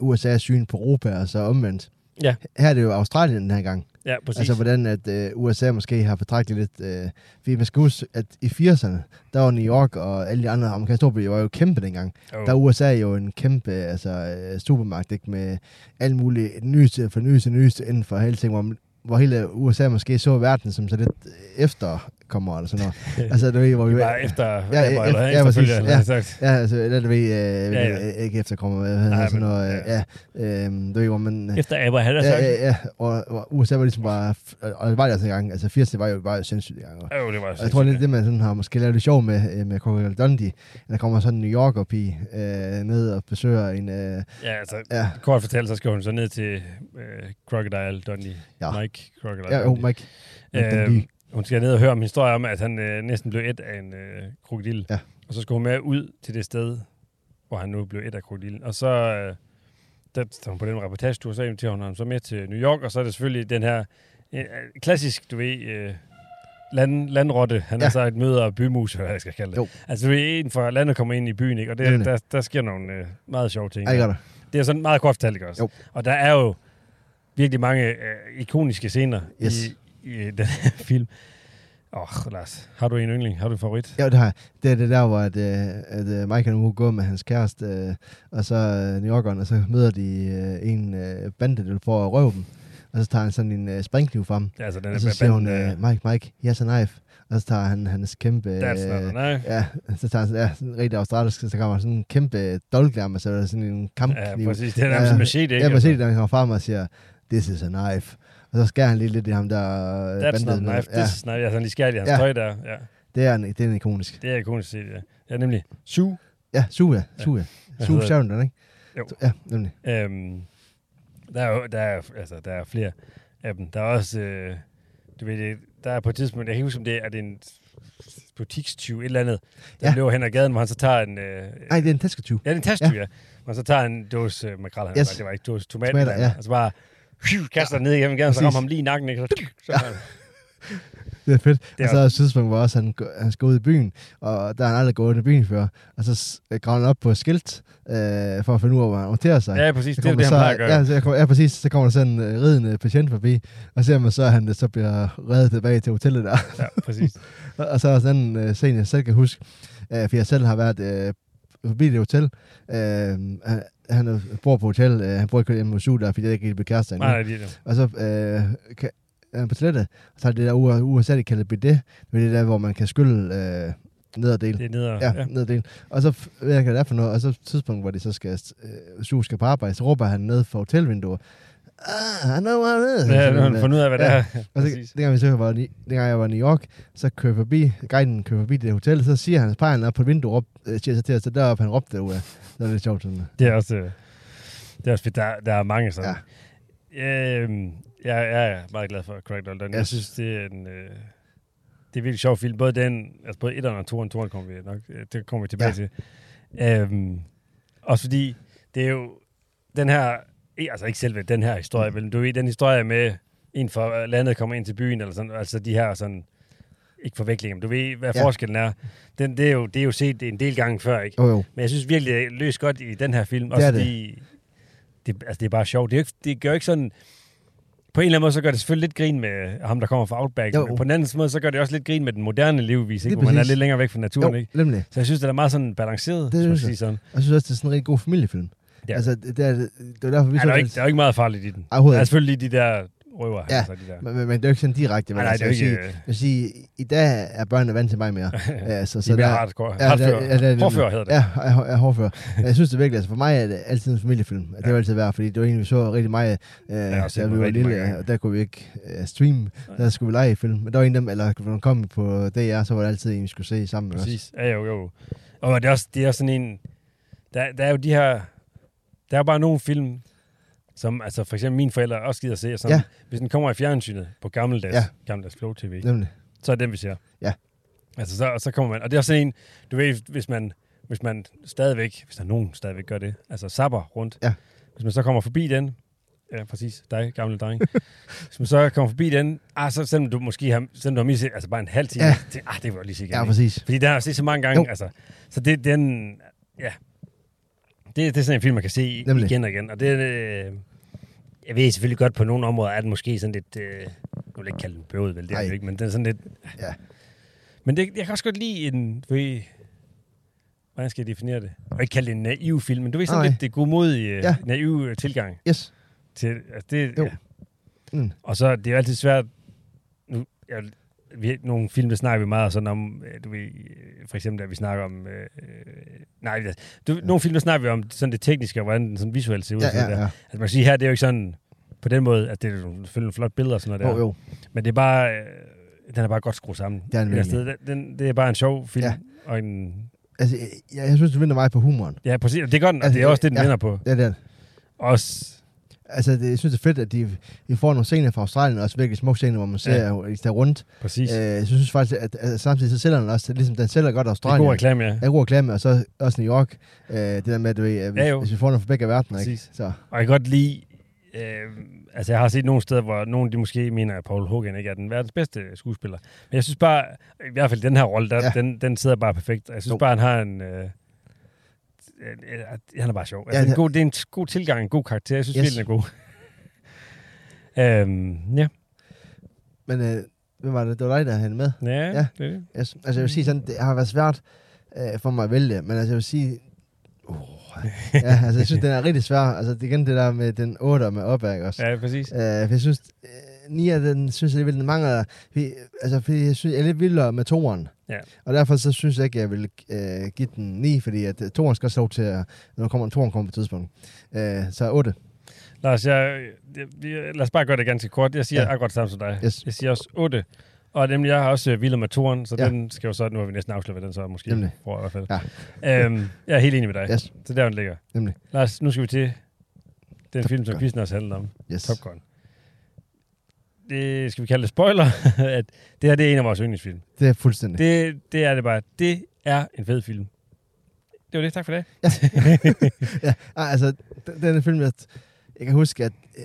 Speaker 4: USA's syn på Europa, og så omvendt.
Speaker 3: Ja.
Speaker 4: Her er det jo Australien den her gang.
Speaker 3: Ja, præcis.
Speaker 4: Altså hvordan at øh, USA måske har betragtet lidt, øh, fordi man skal huske, at i 80'erne, der var New York og alle de andre amerikanske storbyer var jo kæmpe dengang.
Speaker 3: oh.
Speaker 4: Der er USA jo en kæmpe altså, øh, supermagt, ikke? med alt muligt det nyeste for det nyeste, det nyeste inden for hele ting, hvor, hvor hele USA måske så verden som så lidt efterkommer eller sådan noget. altså, du ved, hvor vi...
Speaker 3: Bare efter...
Speaker 4: ja,
Speaker 3: Abba, eller
Speaker 4: ja,
Speaker 3: ikke?
Speaker 4: præcis,
Speaker 3: Selvfølgelig, eller
Speaker 4: ja.
Speaker 3: sagt.
Speaker 4: Ja, altså, der, du ved, øh,
Speaker 3: Ja,
Speaker 4: ja,
Speaker 3: ja.
Speaker 4: ja. ikke efterkommer, hvad hedder
Speaker 3: Nej,
Speaker 4: sådan
Speaker 3: men-
Speaker 4: noget, øh, ja, øh, du ved, hvor man... øh,
Speaker 3: Efter Abba, han har
Speaker 4: Ja,
Speaker 3: sagt.
Speaker 4: ja, ja, og, og USA var ligesom bare, og det var det altså engang, altså 80'erne var jo bare sindssygt engang, og,
Speaker 3: Jo, det var
Speaker 4: og jeg tror, det er
Speaker 3: sindssygt,
Speaker 4: det, man sådan har måske lavet lidt sjov med, øh, med Crocodile Dundee, der kommer sådan en New Yorker-pige øh, ned og besøger en, øh,
Speaker 3: ja. Ja, altså,
Speaker 4: ja,
Speaker 3: kort fortalt, så skal hun så ned til øh, Crocodile Dundee.
Speaker 4: Ja.
Speaker 3: Mike Crocodile
Speaker 4: Ja, jo,
Speaker 3: Dundee.
Speaker 4: Mike. Mike
Speaker 3: Øhm,
Speaker 4: Dundee.
Speaker 3: hun skal ned og høre om historier om, at han øh, næsten blev et af en øh, krokodil.
Speaker 4: Ja.
Speaker 3: Og så skal hun med ud til det sted, hvor han nu blev et af krokodilen. Og så, øh, der, så hun på den reportagetur, så inviterer hun ham så med til New York, og så er det selvfølgelig den her øh, klassisk, du ved, øh, land, landrotte. Han ja.
Speaker 4: Ja.
Speaker 3: er så et møder af bymus, eller hvad jeg skal kalde det.
Speaker 4: Jo.
Speaker 3: Altså, du ved, en fra landet kommer ind i byen, ikke? og det,
Speaker 4: Nemlig.
Speaker 3: der, der sker nogle øh, meget sjove ting.
Speaker 4: Ej, det gør det.
Speaker 3: Det er sådan meget kort fortalt, ikke også?
Speaker 4: Jo.
Speaker 3: Og der er jo virkelig mange øh, ikoniske scener
Speaker 4: Yes.
Speaker 3: i, i den her film. Åh, oh, Lars, har du en yndling? Har du en favorit?
Speaker 4: Ja, det har jeg. Det er det der, hvor at, øh, at øh, Mike nu går med hans kæreste, øh, og så øh, New Yorkeren, og så møder de øh, en øh, bande, der får at røve dem. Og så tager han sådan en øh, springkniv frem,
Speaker 3: Ja, altså, den
Speaker 4: og så siger hun,
Speaker 3: øh,
Speaker 4: øh, Mike, Mike, yes a knife. Og så tager han hans kæmpe...
Speaker 3: That's not a
Speaker 4: øh,
Speaker 3: knife.
Speaker 4: Ja, så tager han sådan- ja, sådan en rigtig australisk, så kommer sådan en kæmpe dolglærme, så er der sådan en
Speaker 3: Ja,
Speaker 4: kampkniv.
Speaker 3: præcis. Det er nærmest
Speaker 4: Ja,
Speaker 3: en machete, ikke? Altså.
Speaker 4: Ja, man ser det, når han kommer frem og siger, this is a knife. Og så skærer han lige lidt i ham der... øh,
Speaker 3: That's not
Speaker 4: banditten.
Speaker 3: a knife.
Speaker 4: Ja,
Speaker 3: This is knife. Altså, de skærer i hans
Speaker 4: Ja.
Speaker 3: tøj der. Ja,
Speaker 4: det er en, det er en ikonisk.
Speaker 3: det er ikonisk set, ja. Ja, nemlig Sue.
Speaker 4: Ja, Suja. Suja.
Speaker 3: Hvad
Speaker 4: Suja
Speaker 3: hedder
Speaker 4: Sheridan, ikke?
Speaker 3: Jo.
Speaker 4: Ja, nemlig.
Speaker 3: Øhm, der er jo der er, altså, der er flere af dem. Der er også, øh, du ved, det, der er på et tidspunkt, jeg kan ikke huske, om det er, er det en butikstyv, et eller andet, der
Speaker 4: Ja.
Speaker 3: ja. løber hen ad gaden, hvor han så tager en... Øh,
Speaker 4: Nej, det er en tasketyv.
Speaker 3: ja, det er en tastyv, ja. ja. Og så tager han en dåse øh, makrel, han
Speaker 4: Yes.
Speaker 3: yes. det var ikke dåse tomater,
Speaker 4: Tomater,
Speaker 3: eller andet,
Speaker 4: ja.
Speaker 3: og så bare hyv, kaster ja. ned igennem gaden, så
Speaker 4: Præcis.
Speaker 3: rammer ham lige i nakken, ikke? Så, så ja.
Speaker 4: Det er fedt.
Speaker 3: Det
Speaker 4: Det
Speaker 3: er
Speaker 4: er og så er der et tidspunkt, hvor også han, gå- han skal ud i byen, og der er han aldrig gået ud i byen før. Og så s- øh, graver han op på et skilt, øh, for at finde ud af, hvor han orienterer sig.
Speaker 3: ja, præcis,
Speaker 4: Så
Speaker 3: det er jo
Speaker 4: kommer
Speaker 3: det, han
Speaker 4: så,
Speaker 3: plejer at gøre.
Speaker 4: Ja, så jeg kommer, ja, præcis. Så kommer der sådan en øh, ridende patient forbi, og ser man så, at han øh, så bliver reddet tilbage til hotellet der.
Speaker 3: Ja, præcis.
Speaker 4: Og og så er der sådan en øh, scene, jeg selv kan huske, øh, for jeg selv har været øh, forbi det hotel. Øh, han, han øh, bor på hotel, øh, han bor ikke hjemme hos Sula, fordi jeg ikke rigtig blev kærester endnu.
Speaker 3: Nej, nej, lige det.
Speaker 4: Og så øh, kan, er han på toilettet, og så er det der U- USA, de kalder bidet, men det er der, hvor man kan skylle øh, nederdel.
Speaker 3: Det er nede og,
Speaker 4: Ja, ja. nederdel. Og så f- ved jeg ikke, hvad det er for noget, og så tidspunkt, hvor de så skal, øh, Sue skal på arbejde, så råber han ned fra hotelvinduet. Ah, I know what it is.
Speaker 3: Ja,
Speaker 4: Sådan,
Speaker 3: nu har han
Speaker 4: øh,
Speaker 3: fundet ud af, hvad det
Speaker 4: ja.
Speaker 3: er.
Speaker 4: og så,
Speaker 3: Præcis.
Speaker 4: dengang, vi så var, i- dengang jeg var i New York, så kører jeg forbi, guiden kører forbi det hotel, så siger han, peger han op på et vindue, råb, øh, siger så til os, så deroppe, han råbte derude. Det var lidt sjovt sådan.
Speaker 3: Det er også, øh, det er også fedt. Der, der er mange sådan.
Speaker 4: Ja.
Speaker 3: Ja. Øhm, jeg, jeg er meget glad for Craig Dalton. Jeg
Speaker 4: Yes.
Speaker 3: synes, det er en... Øh, det er virkelig sjov film. Både den, altså både etteren og toeren, toeren kommer vi nok, øh, det kommer vi tilbage
Speaker 4: Ja.
Speaker 3: ja. til. Øhm, også fordi, det er jo den her, eh, altså ikke selve den her historie, men du ved, den historie med en fra øh, landet kommer ind til byen, eller sådan, altså de her sådan, ikke forvekslinger, men du ved, hvad
Speaker 4: Ja.
Speaker 3: ja. forskellen er. Den, det, er jo, det er jo set en del gange før, ikke?
Speaker 4: Jo, jo.
Speaker 3: Men jeg synes virkelig, det løs godt i den her film.
Speaker 4: er
Speaker 3: Også
Speaker 4: det.
Speaker 3: det fordi, det. altså, det er bare sjovt. Det, er jo ikke, det gør jo ikke sådan... På en eller anden måde, så gør det selvfølgelig lidt grin med ham, der kommer fra Outback.
Speaker 4: Jo.
Speaker 3: Jo. Men på den anden måde, så gør det også lidt grin med den moderne levevis,
Speaker 4: Lige
Speaker 3: ikke? hvor man er
Speaker 4: præcis.
Speaker 3: lidt længere væk fra naturen.
Speaker 4: jo,
Speaker 3: Ikke?
Speaker 4: nemlig.
Speaker 3: Så jeg synes, det er meget sådan balanceret,
Speaker 4: Det
Speaker 3: det
Speaker 4: synes
Speaker 3: sige
Speaker 4: jeg.
Speaker 3: sådan.
Speaker 4: Og jeg synes også, det er sådan en rigtig god familiefilm.
Speaker 3: Ja.
Speaker 4: Altså, det, det, er, det var derfor, vi
Speaker 3: Ja,
Speaker 4: så
Speaker 3: der, er jo
Speaker 4: den-
Speaker 3: ikke, der er jo ikke meget farligt i den.
Speaker 4: Ej, overhovedet
Speaker 3: Der er
Speaker 4: ikke.
Speaker 3: selvfølgelig lige de der røver.
Speaker 4: Ja,
Speaker 3: altså, de der. Ah,
Speaker 4: Men, men, men, det er jo ikke sådan direkte. Men
Speaker 3: Nej, nej,
Speaker 4: altså,
Speaker 3: det er jo
Speaker 4: jeg vil
Speaker 3: ikke,
Speaker 4: Sige, jeg vil sige, i dag er børnene vant til mig mere. altså,
Speaker 3: de er mere hardcore. Ja, hardfører.
Speaker 4: der- der- der-
Speaker 3: Hårdfører hedder det.
Speaker 4: Ja, jeg er- jeg er hårdfører. jeg synes det virkelig, altså for mig er det altid en familiefilm. Det vil altid være, fordi det var en, vi så rigtig meget, øh,
Speaker 3: har også set
Speaker 4: da
Speaker 3: den
Speaker 4: vi var
Speaker 3: rigtig mange
Speaker 4: lille,
Speaker 3: gange.
Speaker 4: og der kunne vi ikke øh, streame, der skulle vi lege i film. Men der var en af dem, eller når den kom på DR, så var det altid en, vi skulle se sammen med os.
Speaker 3: Præcis. Ja, jo, jo. Og det er også, det er også sådan en... Der, der er jo de her... Der er jo bare nogle film, som altså for eksempel mine forældre også gider se. og Sådan,
Speaker 4: Ja.
Speaker 3: ja. Hvis den kommer i fjernsynet på gammeldags,
Speaker 4: Ja.
Speaker 3: ja. gammeldags Flow TV, ja.
Speaker 4: Nemlig.
Speaker 3: så er det den, vi ser.
Speaker 4: Ja.
Speaker 3: Altså, så, og så kommer man... Og det er også sådan en... Du ved, hvis man, hvis man stadigvæk... Hvis der er nogen, der stadigvæk gør det. Altså, sapper rundt.
Speaker 4: Ja.
Speaker 3: Hvis man så kommer forbi den... Ja, præcis. Dig, gamle dreng. hvis man så kommer forbi den... Ah, så selvom du måske har, selvom du har misset... Altså, bare en halv time.
Speaker 4: Ja.
Speaker 3: Ja. Det, ah, det vil jeg godt lige se igen.
Speaker 4: Ja,
Speaker 3: ikke?
Speaker 4: præcis.
Speaker 3: Fordi den har jeg set så mange gange.
Speaker 4: Jo.
Speaker 3: Jo. Altså, så det den... Ja. Det, det er sådan en film, man kan se
Speaker 4: Nemlig.
Speaker 3: Nemlig. igen og igen. Og det... Øh, jeg ved selvfølgelig godt, på nogle områder er den måske sådan lidt... Øh, nu vil jeg ikke kalde den bøvet, vel? Det er
Speaker 4: Nej.
Speaker 3: det jo ikke, men den er sådan lidt...
Speaker 4: Ja.
Speaker 3: Men det, jeg kan også godt lide en... Du ved, hvordan skal jeg definere det? Jeg vil ikke kalde det en naiv film, men du ved sådan
Speaker 4: Nej.
Speaker 3: lidt det godmodige,
Speaker 4: Ja.
Speaker 3: ja. naive øh, tilgang
Speaker 4: Yes.
Speaker 3: til... Altså det,
Speaker 4: Jo.
Speaker 3: Ja.
Speaker 4: Mm.
Speaker 3: Og så det er jo altid svært. Nu, jeg, vi, nogle film, der snakker vi meget sådan om, øh, du ved, øh, for eksempel, at vi snakker om, øh, øh, nej, altså, du, ja. nogle film, der snakker vi om sådan det tekniske, og hvordan den sådan visuelt ser ud.
Speaker 4: Ja,
Speaker 3: og sådan
Speaker 4: ja,
Speaker 3: noget der.
Speaker 4: ja.
Speaker 3: Altså, man kan sige, her, det er jo ikke sådan, på den måde, at det er jo selvfølgelig nogle flotte billeder og sådan
Speaker 4: Jo,
Speaker 3: noget der.
Speaker 4: jo.
Speaker 3: Men det er bare, øh, den er bare godt skruet sammen.
Speaker 4: er
Speaker 3: Et
Speaker 4: den
Speaker 3: eller andet
Speaker 4: virkelig.
Speaker 3: sted. den, det er bare en sjov film.
Speaker 4: Ja.
Speaker 3: Ja. Og en,
Speaker 4: Altså, jeg, jeg synes, det vinder meget på humoren.
Speaker 3: ja, præcis. og Det gør den, og
Speaker 4: Altså,
Speaker 3: det er også det, den
Speaker 4: ja.
Speaker 3: ja. vinder på.
Speaker 4: Det er det.
Speaker 3: Også,
Speaker 4: Altså, det, jeg synes, det er fedt, at de, de får nogle scener fra Australien, også virkelig smukke scener, hvor man ser,
Speaker 3: Ja.
Speaker 4: at de tager rundt.
Speaker 3: præcis.
Speaker 4: Øh,
Speaker 3: Øh,
Speaker 4: jeg synes faktisk, at, at samtidig så sælger den også, ligesom den sælger godt
Speaker 3: det er
Speaker 4: Australien.
Speaker 3: god reklame, ja.
Speaker 4: Ja, god reklame, og så også New York. Øh, det der med, at du ved, at hvis,
Speaker 3: Ja,
Speaker 4: ja,
Speaker 3: jo.
Speaker 4: hvis vi får noget fra begge verdener, ikke?
Speaker 3: Præcis.
Speaker 4: Så,
Speaker 3: Og jeg kan godt lide, øh, altså jeg har set nogle steder, hvor nogen de måske mener, at Paul Hogan ikke er den verdens bedste skuespiller. Men jeg synes bare, i hvert fald den her rolle, der,
Speaker 4: Ja.
Speaker 3: ja. den, den sidder bare perfekt. Og Jeg synes
Speaker 4: Jo.
Speaker 3: jo. bare, han har en... Øh, en- en- han er bare sjov. Altså,
Speaker 4: Ja,
Speaker 3: ja,
Speaker 4: det-
Speaker 3: en god, det er en god tilgang, en god karakter. Jeg synes
Speaker 4: Yes.
Speaker 3: yes. virkelig, den er god. øhm, ja.
Speaker 4: men øh, hvem var det? Det var dig, der havde hende med.
Speaker 3: Ja,
Speaker 4: Ja.
Speaker 3: ja. Det, er det.
Speaker 4: Jeg, altså, jeg vil sige sådan, det har været svært øh, for mig at vælge, men altså, jeg vil sige... Uh, ja, altså, jeg synes, den er rigtig svær. Altså, det er igen det der med den 8 med opad, ikke også?
Speaker 3: ja præcis.
Speaker 4: Øh, for jeg synes, øh, Nia, den synes jeg alligevel, den mangler, fordi, altså, fordi jeg synes, jeg er lidt vildere med toeren.
Speaker 3: Ja.
Speaker 4: Og derfor så synes jeg ikke, jeg vil øh, give den 9, fordi at øh, toeren skal også lov til, at, når der kommer en toeren kommer på et tidspunkt. Øh, så 8.
Speaker 3: Lars, jeg, jeg, jeg, lad os bare gøre det ganske kort. Jeg siger
Speaker 4: Ja.
Speaker 3: ja. akkurat samme som dig.
Speaker 4: Yes.
Speaker 3: Jeg siger også 8. Og nemlig, jeg har også øh, Willem Matoren, så
Speaker 4: Ja.
Speaker 3: ja. den skal jo så, nu har vi næsten afsløret, hvad den så er, måske.
Speaker 4: Nemlig.
Speaker 3: Tror jeg, i hvert
Speaker 4: Ja.
Speaker 3: fald. Ja. Øhm, jeg er helt enig med dig.
Speaker 4: Yes.
Speaker 3: Så der, den ligger.
Speaker 4: Nemlig.
Speaker 3: Lars, nu skal vi til den
Speaker 4: Top
Speaker 3: film, som
Speaker 4: Gun.
Speaker 3: quizzen også handler om.
Speaker 4: Yes.
Speaker 3: Top Gun. Det skal vi kalde det spoiler, at det her det er en af vores yndlingsfilm.
Speaker 4: Det er fuldstændig.
Speaker 3: Det, det er det bare. Det er en fed film. Det var det. Tak for det.
Speaker 4: ja, ej, altså, den, den film, jeg, jeg kan huske, at øh,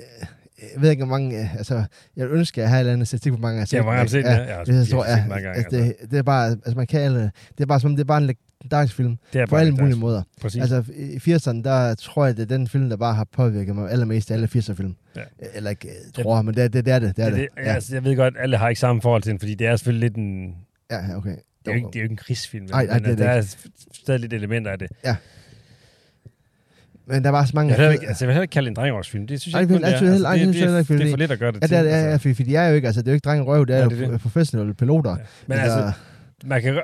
Speaker 4: jeg ved ikke, hvor mange, øh, altså, jeg ønsker, at jeg har et eller andet statistik på hvor mange, jeg har set.
Speaker 3: Jeg har
Speaker 4: den,
Speaker 3: mange set
Speaker 4: ikke?
Speaker 3: den. her. Jeg har
Speaker 4: Hvis jeg tror,
Speaker 3: virkelig set
Speaker 4: ja,
Speaker 3: den mange gange.
Speaker 4: altså,
Speaker 3: Altså,
Speaker 4: det, det, er bare, altså man kan, alle- det er bare som, om, det er bare en legendarisk film,
Speaker 3: det er
Speaker 4: på
Speaker 3: bare
Speaker 4: alle
Speaker 3: lidt
Speaker 4: mulige
Speaker 3: dags.
Speaker 4: måder.
Speaker 3: Præcis. Altså,
Speaker 4: Altså, i 80'erne, der tror jeg, det er den film, der bare har påvirket mig allermest af alle 80'er film.
Speaker 3: Ja.
Speaker 4: Eller ikke, øh, tror jeg, men det, er- det, det er det. Det er det.
Speaker 3: det, ja. altså, jeg ved godt, alle har ikke samme forhold til den, fordi det er selvfølgelig lidt en...
Speaker 4: Ja, ja, okay.
Speaker 3: Det er jo ikke, det er jo ikke en krigsfilm,
Speaker 4: Nej, nej,
Speaker 3: men øh,
Speaker 4: det Mm. er det
Speaker 3: der er stadig lidt elementer af det.
Speaker 4: Men der var så mange...
Speaker 3: Jeg vil, heller ikke, altså, jeg vil heller ikke kalde det en drengeårsfilm. Det synes
Speaker 4: Nej,
Speaker 3: jeg ikke,
Speaker 4: det
Speaker 3: kun,
Speaker 4: vil jeg
Speaker 3: det er.
Speaker 4: altid
Speaker 3: Altså, det,
Speaker 4: heller- nej, det synes jeg heller
Speaker 3: det,
Speaker 4: ikke,
Speaker 3: det, det er
Speaker 4: fordi-
Speaker 3: for lidt at gøre det
Speaker 4: Ja,
Speaker 3: til.
Speaker 4: det er, det, ja,
Speaker 3: altså.
Speaker 4: ja, fordi de er jo ikke, altså det er jo ikke dreng røv, det er
Speaker 3: Nej,
Speaker 4: jo
Speaker 3: det er
Speaker 4: pro- professionelle piloter.
Speaker 3: Ja. Men altså, man kan, gø-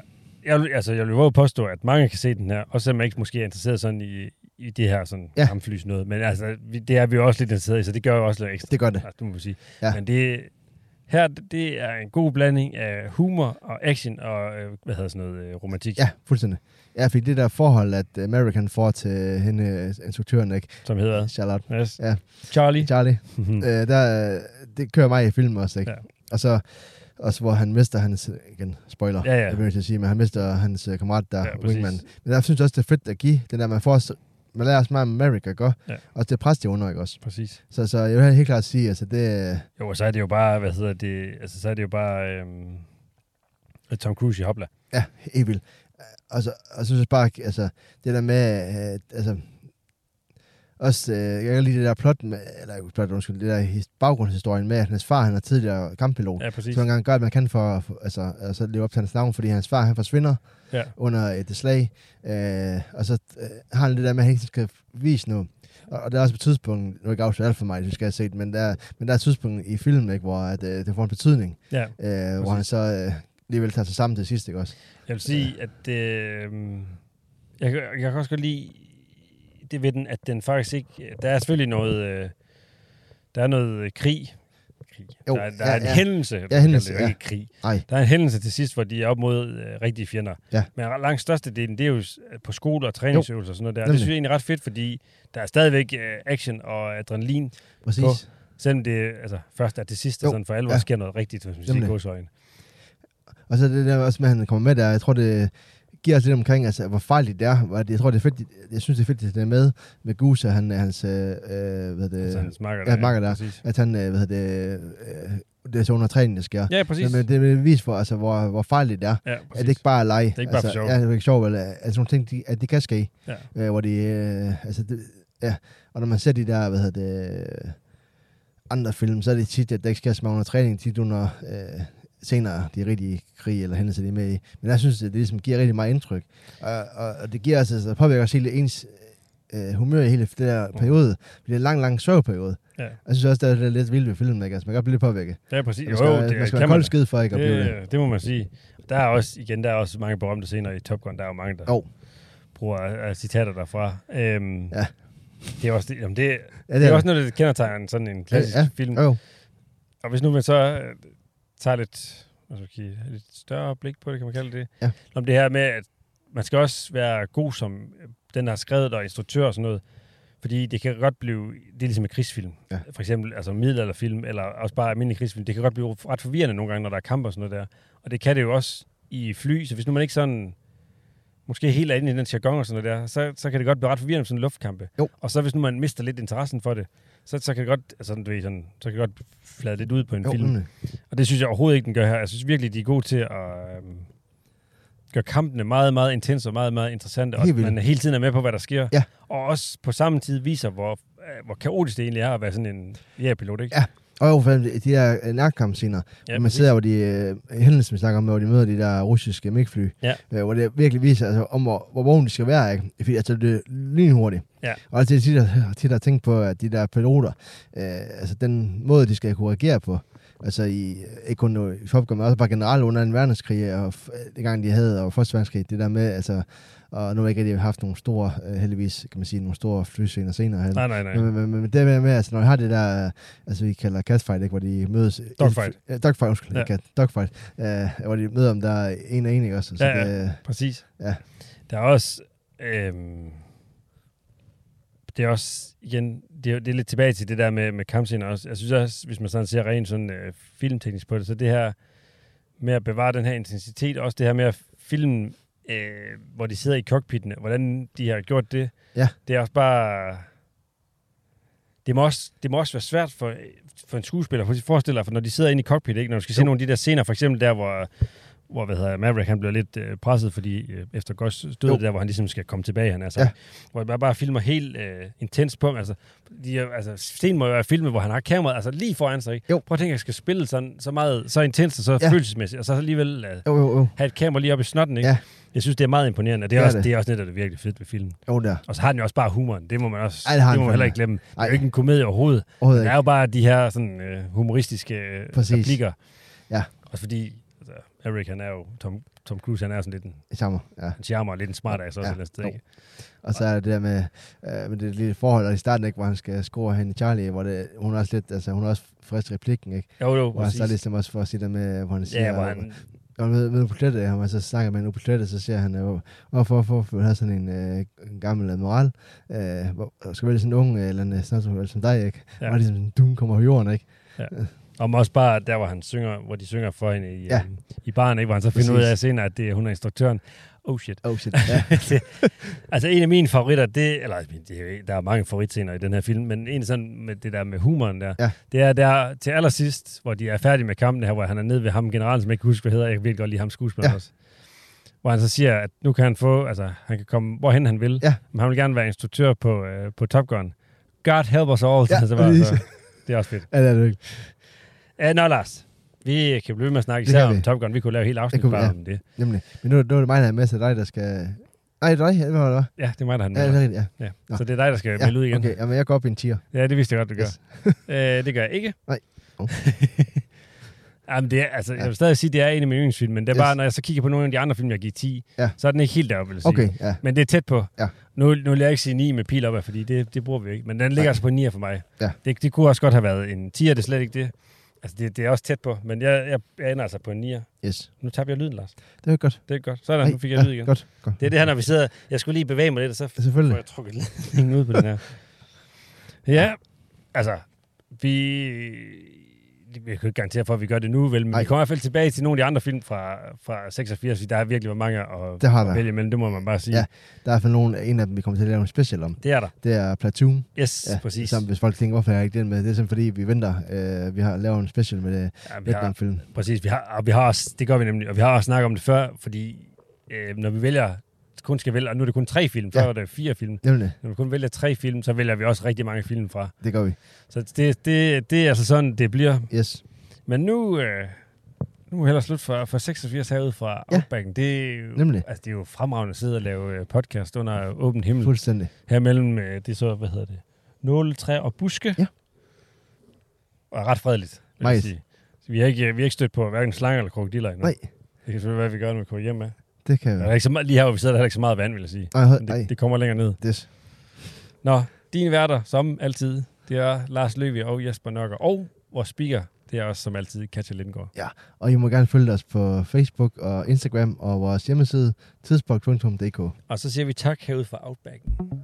Speaker 3: jeg, vil- altså, jeg vil våge at påstå, at mange kan se den her, også selvom man ikke måske er interesseret sådan i, i det her sådan
Speaker 4: Ja.
Speaker 3: ja. kampflys noget. Men altså, vi, det er vi jo også lidt interesseret i, så det gør jo også lidt ekstra.
Speaker 4: det gør det.
Speaker 3: Altså, du må man sige.
Speaker 4: Ja.
Speaker 3: Ja. Men det, her, det er en god blanding af humor og action og, øh, hvad hedder sådan noget, øh, romantik,
Speaker 4: Ja, fuldstændig. Ja, fordi det der forhold, at American får til hende, øh, instruktøren, ikke?
Speaker 3: som hedder
Speaker 4: Charlotte.
Speaker 3: yes.
Speaker 4: Ja.
Speaker 3: Charlie.
Speaker 4: Charlie.
Speaker 3: Mhm.
Speaker 4: Øh, der, øh, det kører mig i film også, ikke?
Speaker 3: Ja.
Speaker 4: Og så også, hvor han mister hans, igen, spoiler,
Speaker 3: Ja, ja.
Speaker 4: jeg bliver nødt til at sige, men han mister hans øh, kammerat der,
Speaker 3: Ja, præcis.
Speaker 4: Wingman. Men der synes jeg også, det er fedt at give den der, man får også, man lærer også meget om America, ikke?
Speaker 3: Ja.
Speaker 4: Og det pres, det under, ikke også?
Speaker 3: Præcis.
Speaker 4: Så, så jeg vil helt klart sige, altså det,
Speaker 3: Jo, og så er det jo bare, hvad hedder det, altså så er det jo bare øhm, Tom Cruise i Hopla.
Speaker 4: Ja, helt vildt. Og så, og så synes jeg bare, altså, det der med, øh, altså, også, øh, jeg kan lide det der plot, med, eller ikke plot, undskyld, det der his- baggrundshistorien med, at hans far, han er tidligere kamppilot.
Speaker 3: Ja, præcis.
Speaker 4: Så han engang gør, at man kan for, for altså, altså, leve op til hans navn, fordi hans far, han forsvinder
Speaker 3: Ja.
Speaker 4: under et slag, øh, og så øh, har han det der med, at han ikke skal vise noget. Og, og der er også et tidspunkt, nu er jeg ikke afsløret alt for mig, det skal jeg have set, men der, men der er et tidspunkt i filmen, ikke, hvor at, øh, det får en betydning,
Speaker 3: Ja.
Speaker 4: øh, hvor han så øh, alligevel tager sig sammen til sidst, ikke også?
Speaker 3: Jeg vil sige, at øh, jeg, kan- jeg kan også godt lide det ved den, at den faktisk ikke... Der er selvfølgelig noget... Øh, der er noget øh, krig. krig.
Speaker 4: Jo,
Speaker 3: der, er- der
Speaker 4: ja,
Speaker 3: er en
Speaker 4: ja.
Speaker 3: hændelse. man kalder
Speaker 4: hændelse,
Speaker 3: Det er
Speaker 4: ja.
Speaker 3: jo ikke krig.
Speaker 4: Nej.
Speaker 3: Der er en hændelse til sidst, hvor de er op mod øh, rigtige fjender.
Speaker 4: Ja.
Speaker 3: Men langt størstedelen, det er jo s- øh, på skole og træningsøvelser og sådan noget der. Og
Speaker 4: Nemlig.
Speaker 3: Det synes jeg egentlig er ret fedt, fordi der er stadigvæk øh, action og adrenalin,
Speaker 4: Præcis.
Speaker 3: på. selvom det altså, først er det sidste,
Speaker 4: Jo,
Speaker 3: sådan for alvor
Speaker 4: ja.
Speaker 3: ja. sker noget rigtigt, hvis man
Speaker 4: Nemlig.
Speaker 3: siger godsøjen.
Speaker 4: Og så det der også med, at han kommer med der, jeg tror, det giver os lidt omkring, altså, hvor farligt det er. Hvor det- Jeg tror, det er fedt, jeg synes, det er fedt, at det er med med Gus, og han, hans, øh, øh, hvad hedder det,
Speaker 3: Altså, han smakker
Speaker 4: ja, makker der.
Speaker 3: Præcis.
Speaker 4: at han, øh, hvad hedder det, øh, det er så under træningen, det sker.
Speaker 3: Ja, præcis.
Speaker 4: Men, men det vil vise for, altså, hvor, hvor farligt det er.
Speaker 3: ja,
Speaker 4: At det ikke bare er leg. Det
Speaker 3: er ikke bare
Speaker 4: altså,
Speaker 3: for sjov.
Speaker 4: Ja, det er ikke sjovt, eller altså nogle ting, de, at det kan ske.
Speaker 3: Ja.
Speaker 4: Øh, hvor de, øh, altså, det, ja. Og når man ser de der, hvad hedder det, øh, andre film, så er det tit, at der ikke sker så meget under træning, tit under øh, senere, de rigtige krig eller hændelser, de er med i. Men jeg synes, at det ligesom giver rigtig meget indtryk. Og, og, og det giver altså, altså påvirker også hele ens øh, humør i hele det
Speaker 3: Mm.
Speaker 4: der periode. Det er en lang, lang soveperiode.
Speaker 3: Ja.
Speaker 4: Jeg synes også, det er lidt vildt ved filmen, ikke? Altså, man kan godt blive lidt påvirket.
Speaker 3: Ja, præcis.
Speaker 4: Man
Speaker 3: Jo,
Speaker 4: skal,
Speaker 3: jo, det
Speaker 4: man skal
Speaker 3: kan
Speaker 4: være
Speaker 3: man
Speaker 4: kold
Speaker 3: da.
Speaker 4: skid for ikke at blive det.
Speaker 3: det, det må man sige. Der er også, igen, der er også mange berømte scener i Top Gun. Der er jo mange, der
Speaker 4: Jo.
Speaker 3: oh. bruger uh, citater derfra. Øhm,
Speaker 4: Ja.
Speaker 3: ja. Det er også, det, jamen det, ja, det,
Speaker 4: Ja,
Speaker 3: det er også noget, der kendetegner en- sådan en klassisk
Speaker 4: Ja,
Speaker 3: ja,
Speaker 4: ja.
Speaker 3: ja. film.
Speaker 4: Jo, jo.
Speaker 3: Og hvis nu man så øh, tager lidt, hvad skal man sige, et lidt større blik på det, kan man kalde det.
Speaker 4: Ja.
Speaker 3: Om det her med, at man skal også være god som øh, den, der har skrevet det, og instruktør og sådan noget. Fordi det kan godt blive, det er ligesom en krigsfilm.
Speaker 4: Ja.
Speaker 3: For eksempel altså middelalderfilm, eller også bare almindelig krigsfilm. Det kan godt blive ret forvirrende nogle gange, når der er kamp og sådan noget der. Og det kan det jo også i fly, så hvis nu man ikke sådan måske helt er inde i den jargon og sådan noget der, så, så kan det godt blive ret forvirrende med sådan en luftkampe.
Speaker 4: Jo.
Speaker 3: Og så hvis nu man mister lidt interessen for det, så, så kan det godt, altså, du ved, sådan, så kan det godt flade lidt ud på en
Speaker 4: jo
Speaker 3: film.
Speaker 4: nemlig.
Speaker 3: Og det synes jeg overhovedet ikke, den gør her. Jeg synes virkelig, de er gode til at øhm, gøre kampene meget, meget intense og meget, meget interessante. Og
Speaker 4: Helt
Speaker 3: at
Speaker 4: vildt.
Speaker 3: man hele tiden er med på, hvad der sker.
Speaker 4: Ja.
Speaker 3: Og også på samme tid viser, hvor, øh, hvor kaotisk det egentlig er at være sådan en jægerpilot, ikke?
Speaker 4: Ja, Og jo, for eksempel de der øh, nærkampscener, ja, man
Speaker 3: præcis.
Speaker 4: ser, hvor de øh, hændelser, vi snakker om, hvor de møder de der russiske MiG-fly,
Speaker 3: Ja.
Speaker 4: øh, hvor det virkelig viser, altså, om hvor, hvor vågen de skal være, ikke? Fordi altså, det er lynhurtigt.
Speaker 3: Ja.
Speaker 4: Og altså, det er tit, at- tit at tænke på, at de der piloter, øh, altså den måde, de skal kunne reagere på, altså i, ikke kun i Top Gun, men også bare generelt under en verdenskrig, og f- dengang de havde, og første verdenskrig, det der med, altså, og nu har jeg ikke rigtig haft nogle store, øh, heldigvis, kan man sige, nogle store flyscener senere. heller.
Speaker 3: Nej, nej, nej.
Speaker 4: Men, men, men, men det med, med, altså, når vi har det der, øh, altså vi kalder catfight, ikke, hvor de mødes...
Speaker 3: Dogfight.
Speaker 4: Øh, dogfight, undskyld.
Speaker 3: Ja.
Speaker 4: Ja. Cat, dogfight. Øh, hvor de møder om der er en og en, ikke også? Så
Speaker 3: Ja,
Speaker 4: Det, øh,
Speaker 3: Præcis.
Speaker 4: Ja.
Speaker 3: Der er også... Øhm, det er også, igen, det er, det er lidt tilbage til det der med, med kampscener også. Jeg synes også, hvis man sådan ser rent sådan, øh, filmteknisk på det, så det her med at bevare den her intensitet, også det her med at filme, øh, hvor de sidder i cockpitene, hvordan de har gjort det,
Speaker 4: Ja.
Speaker 3: det er også bare... Det må også, det må også være svært for, for en skuespiller, for forestil dig, for når de sidder inde i cockpit, ikke? når du skal se
Speaker 4: Jo.
Speaker 3: nogle af de der scener, for eksempel der, hvor hvor hvad hedder, Maverick han bliver lidt øh, presset, fordi øh, efter Goss stod
Speaker 4: Jo.
Speaker 3: det der, hvor han ligesom skal komme tilbage, han er så,
Speaker 4: Ja.
Speaker 3: hvor man bare filmer helt øh, intens på ham. Altså, de, er- altså, scenen må jo være filmet, hvor han har kameraet altså, lige foran sig. Ikke?
Speaker 4: Jo.
Speaker 3: Prøv at tænke, at jeg skal spille sådan, så meget, så intenst og så ja.
Speaker 4: Ja.
Speaker 3: følelsesmæssigt, og så alligevel øh,
Speaker 4: jo, jo, jo.
Speaker 3: have et kamera lige op i snotten. Ikke?
Speaker 4: Ja.
Speaker 3: Jeg synes, det er meget imponerende, og det er,
Speaker 4: Det
Speaker 3: det
Speaker 4: er
Speaker 3: er også, det. det er også
Speaker 4: det.
Speaker 3: netop det virkelig fedt ved filmen.
Speaker 4: Jo, der.
Speaker 3: Og så har den jo også bare humoren, det må man også
Speaker 4: Ej, det har
Speaker 3: det
Speaker 4: den
Speaker 3: må man
Speaker 4: fandme.
Speaker 3: heller ikke glemme. Det er jo
Speaker 4: Ej.
Speaker 3: ikke en komedie overhovedet.
Speaker 4: Overhovedet
Speaker 3: Der er
Speaker 4: ikke.
Speaker 3: jo bare de her sådan, øh, humoristiske øh,
Speaker 4: Præcis.
Speaker 3: replikker.
Speaker 4: Ja.
Speaker 3: Også fordi altså, Eric, han er jo, Tom, Tom Cruise, han er sådan lidt en,
Speaker 4: Charmer, ja.
Speaker 3: en charmer og lidt en smart ass også.
Speaker 4: Ja,
Speaker 3: Ja. Sted,
Speaker 4: jo.
Speaker 3: ikke?
Speaker 4: Og så er det der med, øh, med det lille forhold der i starten, ikke, hvor han skal score hen i Charlie, hvor det, hun er også lidt, altså hun er også frisk i replikken, ikke?
Speaker 3: Jo, jo,
Speaker 4: Hvor han så
Speaker 3: præcis.
Speaker 4: ligesom også for at sige det med, hvor han siger,
Speaker 3: ja, hvor han,
Speaker 4: når han møder møder på plettet, og man så snakker altså med en ude på plettet, så siger han jo, hvorfor, hvorfor vil du have sådan en, øh, en gammel admiral? Øh, hvor, skal vælge sådan en ung øh, eller en øh, snart som dig, ikke?
Speaker 3: Ja.
Speaker 4: Ja. Og ligesom, sådan, du kommer på jorden, ikke?
Speaker 3: om også bare der, hvor, han synger, hvor de synger for hende i, ja.
Speaker 4: Ja.
Speaker 3: i baren, ikke? hvor han så finder ud af
Speaker 4: Præcis.
Speaker 3: senere, at det er, hun er instruktøren. Oh shit.
Speaker 4: Oh shit, ja.
Speaker 3: Det- altså en af mine favoritter, det, eller det, er jo ikke- der er mange favoritscener i den her film, men en sådan med det der med humoren der,
Speaker 4: Ja.
Speaker 3: det er der til allersidst, hvor de er færdige med kampen her, hvor han er nede ved ham generalen, som jeg ikke kan huske, hvad hedder, jeg kan virkelig godt lide ham skuespiller ja.
Speaker 4: Ja.
Speaker 3: også. Hvor han så siger, at nu kan han få, altså han kan komme hvorhen han vil,
Speaker 4: Ja.
Speaker 3: men han vil gerne være instruktør på, øh, på Top Gun. God help us all.
Speaker 4: Ja,
Speaker 3: altså, bare,
Speaker 4: præcis.
Speaker 3: så, det er også fedt.
Speaker 4: ja, det er det virkelig.
Speaker 3: Uh, nå Lars, vi kan blive ved med at snakke
Speaker 4: Det
Speaker 3: især
Speaker 4: kan
Speaker 3: om
Speaker 4: vi.
Speaker 3: Top Gun. Vi kunne lave helt afsnit
Speaker 4: Det kunne vi,
Speaker 3: bare
Speaker 4: ja.
Speaker 3: om det.
Speaker 4: Nemlig. Men nu, nu er det mig, der er med til dig, der skal... Nej, det er dig, ja, hvad var det?
Speaker 3: Ja, det er mig, der har den
Speaker 4: Ja, det
Speaker 3: med.
Speaker 4: er rigtigt, ja.
Speaker 3: Ja.
Speaker 4: Nå.
Speaker 3: Så det er dig, der skal ja, melde ud igen.
Speaker 4: Okay, jamen jeg går op i en tier.
Speaker 3: Ja, det vidste jeg godt, du gør. Yes.
Speaker 4: Yes.
Speaker 3: øh, det gør jeg ikke.
Speaker 4: Nej. Nå.
Speaker 3: Jamen, det er, altså, jeg
Speaker 4: Ja.
Speaker 3: vil stadig sige, at det er en af mine yndlingsfilm, men det er
Speaker 4: Yes.
Speaker 3: bare, når jeg så kigger på nogle af de andre film, jeg giver 10,
Speaker 4: Ja.
Speaker 3: så er den ikke helt deroppe, vil jeg sige.
Speaker 4: Okay, ja.
Speaker 3: Men det er tæt på.
Speaker 4: Ja.
Speaker 3: Nu, nu vil jeg ikke sige 9 med pil op, fordi det, det bruger vi ikke. Men den ligger
Speaker 4: Nej.
Speaker 3: altså på 9 for mig.
Speaker 4: Ja.
Speaker 3: Det, det kunne også godt have været en 10'er, det er slet ikke det. Altså, det, det er også tæt på, men jeg, jeg, jeg ender altså på en 9'er.
Speaker 4: Yes.
Speaker 3: Nu taber jeg lyden, Lars.
Speaker 4: Det er godt.
Speaker 3: Det er godt. Sådan, nu fik jeg lyd igen.
Speaker 4: Godt, godt.
Speaker 3: Det er det her, når vi sidder... Jeg skulle lige bevæge mig lidt, og så
Speaker 4: Ja,
Speaker 3: får
Speaker 4: Selvfølgelig.
Speaker 3: jeg trukket ledningen ud på den her. Ja, altså, vi... Jeg kan ikke garantere for, at vi gør det nu, vel, men Ej.
Speaker 4: Nej.
Speaker 3: vi kommer i hvert fald tilbage til nogle af de andre film fra, fra 86, fordi der har virkelig været mange at,
Speaker 4: Det har
Speaker 3: at
Speaker 4: der.
Speaker 3: vælge imellem, det må man bare sige. Ja.
Speaker 4: Ja. Der er i hvert fald nogen, en af dem, vi kommer til at lave en special om.
Speaker 3: Det er der.
Speaker 4: Det er Platoon.
Speaker 3: Yes, ja, præcis.
Speaker 4: Som hvis folk tænker, hvorfor er jeg ikke den med? Det er simpelthen fordi, vi venter. Øh, vi har lavet en special med øh, det
Speaker 3: Ja, vi har,
Speaker 4: Vietnam-film.
Speaker 3: præcis, vi har, og vi har også, det gør vi nemlig, og vi har også snakket om det før, fordi øh, når vi vælger, kun skal vælge, og nu er det kun tre film, før
Speaker 4: Ja.
Speaker 3: var det fire film.
Speaker 4: Nemlig,
Speaker 3: Når vi kun vælger tre film, så vælger vi også rigtig mange film fra.
Speaker 4: det gør vi.
Speaker 3: Så det, det, det er altså sådan, det bliver.
Speaker 4: Yes.
Speaker 3: Men nu, øh, nu er heller slut for, for 86 herude fra
Speaker 4: Ja.
Speaker 3: Outbacken. Det, er jo-
Speaker 4: Nemlig.
Speaker 3: Altså, det er jo fremragende at sidde og lave øh, podcast under åben himmel. Fuld.
Speaker 4: Fuldstændig.
Speaker 3: Her mellem, øh, det er så, hvad hedder det, nåletræ og buske.
Speaker 4: Ja.
Speaker 3: Og ret fredeligt, vil jeg
Speaker 4: Meget.
Speaker 3: sige. Så vi har ikke, øh, vi har ikke stødt på hverken slanger eller krokodiller endnu.
Speaker 4: Nej,
Speaker 3: Det kan selvfølgelig være, at vi gør, når vi kommer hjem med.
Speaker 4: det kan
Speaker 3: Der
Speaker 4: vi.
Speaker 3: er ikke så meget, lige her, hvor vi sidder, der er heller ikke så meget vand, vil jeg sige.
Speaker 4: Nej, hold,
Speaker 3: Men
Speaker 4: nej.
Speaker 3: Det, det kommer længere ned.
Speaker 4: Yes.
Speaker 3: Nå, dine værter, som altid, det er Lars Løvi og Jesper Nøkker. Og vores speaker, det er også som altid Katja Lindgaard.
Speaker 4: Og I må gerne følge os på Facebook og Instagram og vores hjemmeside tidsbog.dk.
Speaker 3: Og så siger vi tak herude fra Outbacken.